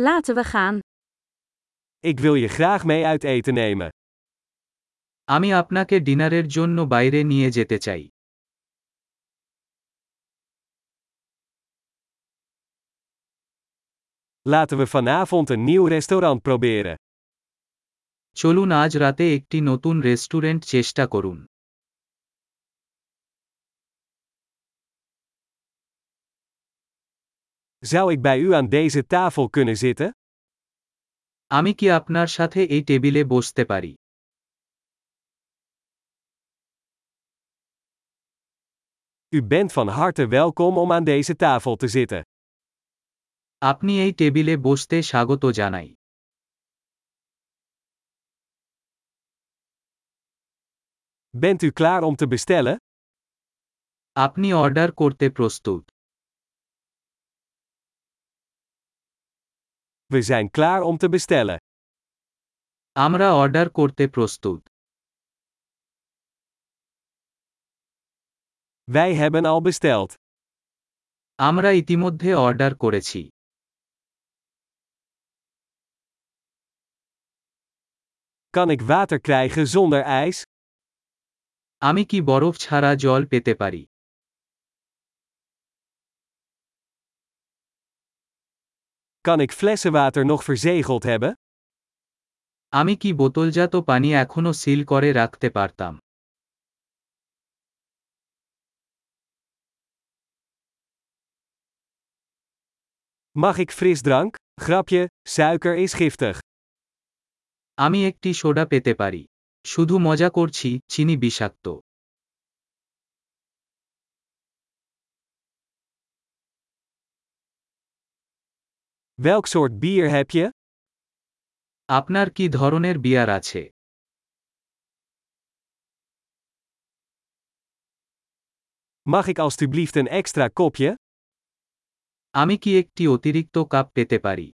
Laten we gaan. Ik wil je graag mee uit eten nemen. আমি আপনাকে ডিনারের জন্য বাইরে নিয়ে যেতে চাই Laten we vanavond een nieuw restaurant proberen. চলুন আজ রাতে একটি নতুন রেস্টুরেন্ট চেষ্টা করুন Zou ik bij u aan deze tafel kunnen zitten? আমি কি আপনার সাথে এই টেবিলে বসতে পারি U bent van harte welkom om aan deze tafel te zitten. আপনি এই টেবিলে বসতে স্বাগত জানাই Bent u klaar om te bestellen? আপনি অর্ডার করতে প্রস্তুত We zijn klaar om te bestellen. আমরা অর্ডার করতে প্রস্তুত Wij hebben al besteld. আমরা ইতিমধ্যে অর্ডার করেছি Kan ik water krijgen zonder ijs? আমি কি বরফ ছাড়া জল পেতে পারি Kan ik flessenwater nog verzegeld hebben? আমি কি বোতলজাত পানি এখনও সিল করে রাখতে পারতাম Mag ik frisdrank? Grapje, suiker is giftig. আমি একটি সোডা পেতে পারি শুধু মজা করছি চিনি বিষাক্ত Welk soort bier heb je? আপনার কি ধরনের বিয়ার আছে Mag ik alstublieft een extra kopje? আমি কি একটি অতিরিক্ত কাপ পেতে পারি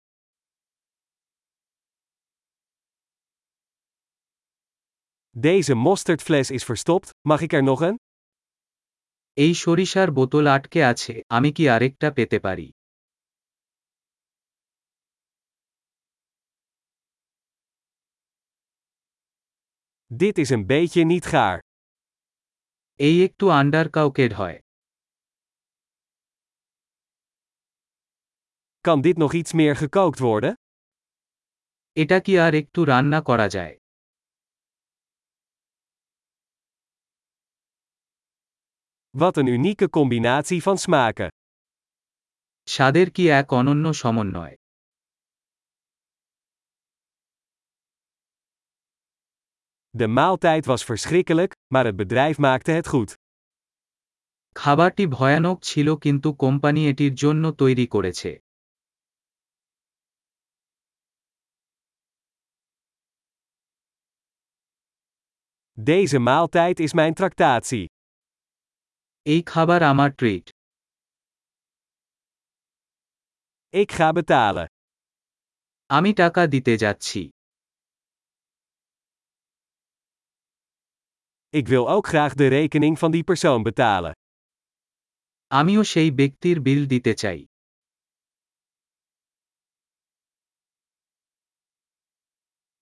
Deze mosterdfles is verstopt, mag ik er nog een? এই সরিষার বোতল আটকে আছে আমি কি আরেকটা পেতে পারি Dit is een beetje niet gaar. এই একটু আন্ডার কাউকেড হয় Kan dit nog iets meer gekookt worden? এটা কি আর একটু রান্না করা যায় Wat een unieke combinatie van smaken. স্বাদের কি এক অনন্য সমন্বয় De maaltijd was verschrikkelijk, maar het bedrijf maakte het goed. খাবারটি ভয়ানক ছিল কিন্তু কোম্পানি এটির জন্য তৈরি করেছে Deze maaltijd is mijn tractatie. এই খাবার আমার ট্রিট Ik ga betalen. আমি টাকা দিতে যাচ্ছি Ik wil ook graag de rekening van die persoon betalen. আমিও সেই ব্যক্তির বিল দিতে চাই